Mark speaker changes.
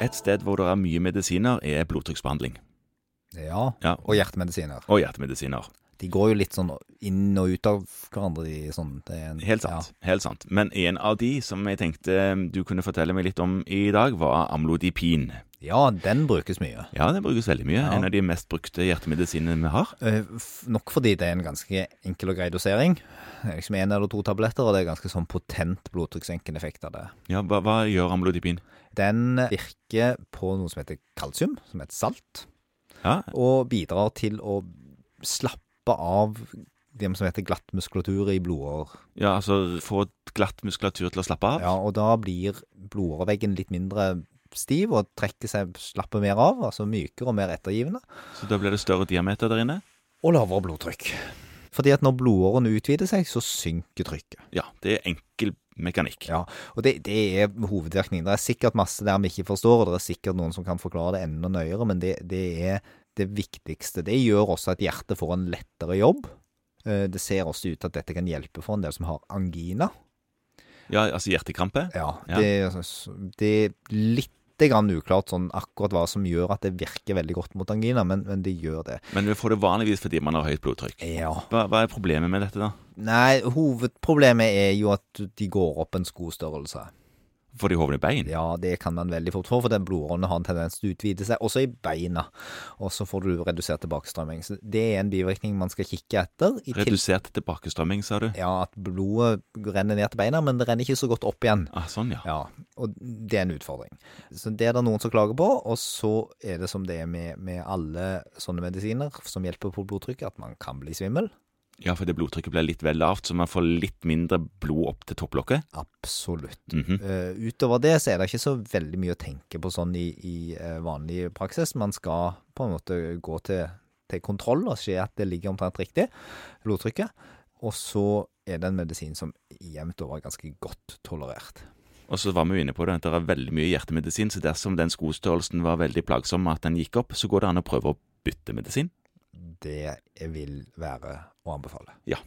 Speaker 1: Et sted hvor det er mye medisiner, er blodtrykksbehandling
Speaker 2: Ja.
Speaker 1: Ja.
Speaker 2: Og hjertemedisiner.
Speaker 1: og hjertemedisiner.
Speaker 2: De går jo litt sånn inn og ut av hverandre, de sånn. Det er en,
Speaker 1: Helt sant. helt sant. Men en av de som jeg tenkte du kunne fortelle meg litt om i dag, var amlodipin.
Speaker 2: Ja. ja, den brukes mye.
Speaker 1: Ja, den brukes veldig mye.
Speaker 2: Ja.
Speaker 1: En av de mest brukte hjertemedisinene vi har.
Speaker 2: Eh, f- Nok fordi det er en ganske enkel og grei dosering. Det er Liksom én eller to tabletter, og det er ganske sånn potent blodtrykkssenkende effekt av det.
Speaker 1: Ja, Hva, hva gjør amlodipin?
Speaker 2: Den virker på noe som heter kalsium, som er et salt,
Speaker 1: Ja,
Speaker 2: og bidrar til å slappe av det som heter glatt muskulatur i blodårer.
Speaker 1: ja altså få glatt muskulatur til å slappe av.
Speaker 2: Ja, og da blir blodåreveggen litt mindre stiv og trekker seg, slapper mer av, altså mykere og mer ettergivende,
Speaker 1: Så da blir det større diameter der inne.
Speaker 2: og lavere blodtrykk. Fordi at når blodårene utvider seg, så synker trykket.
Speaker 1: Ja, det er enkel mekanikk.
Speaker 2: Ja, og det, det er hovedvirkningen. Det er sikkert masse der vi ikke forstår, og det er sikkert noen som kan forklare det enda nøyere, men det, det er det viktigste. Det gjør også at hjertet får en lettere jobb. Eh, Det ser også ut til at dette kan hjelpe for en del som har angina.
Speaker 1: Ja, altså hjertekrampe.
Speaker 2: Ja,
Speaker 1: Ja.
Speaker 2: Det, altså det er litt grann uklart sånn akkurat hva som gjør at det virker veldig godt mot angina, men, men det gjør det.
Speaker 1: Men vi får det vanligvis fordi man har høyt blodtrykk.
Speaker 2: Ja.
Speaker 1: Hva, hva er problemet med dette, da?
Speaker 2: Nei, hovedproblemet er jo at de går opp en skostørrelse.
Speaker 1: Får de hovne bein?
Speaker 2: Ja, det kan man veldig fort få, for den blodårene har en tendens til å utvide seg, også i beina. Og så får du redusert tilbakestrømming. Så det er en bivirkning man skal kikke etter. I til
Speaker 1: Redusert tilbakestrømming, sa du?
Speaker 2: ja, at blodet renner ned til beina, men det renner ikke så godt opp igjen.
Speaker 1: Ah, sånn, ja.
Speaker 2: Ja, og det er en utfordring. Så det er det noen som klager på, og så er det som det er med, med alle sånne medisiner som hjelper på blodtrykket, at man kan bli svimmel.
Speaker 1: Ja, fordi blodtrykket blir litt vel lavt, så man får litt mindre blod opp til topplokket.
Speaker 2: Absolutt.
Speaker 1: Mhm.
Speaker 2: Eh, utover det så er det ikke så veldig mye å tenke på sånn i, i eh, vanlig praksis. Man skal på en måte gå til, til kontroll og se at det ligger omtrent riktig, blodtrykket. Og så er det en medisin som jevnt over er ganske godt tolerert.
Speaker 1: Og så var vi jo inne på det, at det er veldig mye hjertemedisin, så dersom den skostørrelsen var veldig plagsom at den gikk opp, så går det an å prøve å bytte medisin.
Speaker 2: Det vil være å anbefale.
Speaker 1: Ja.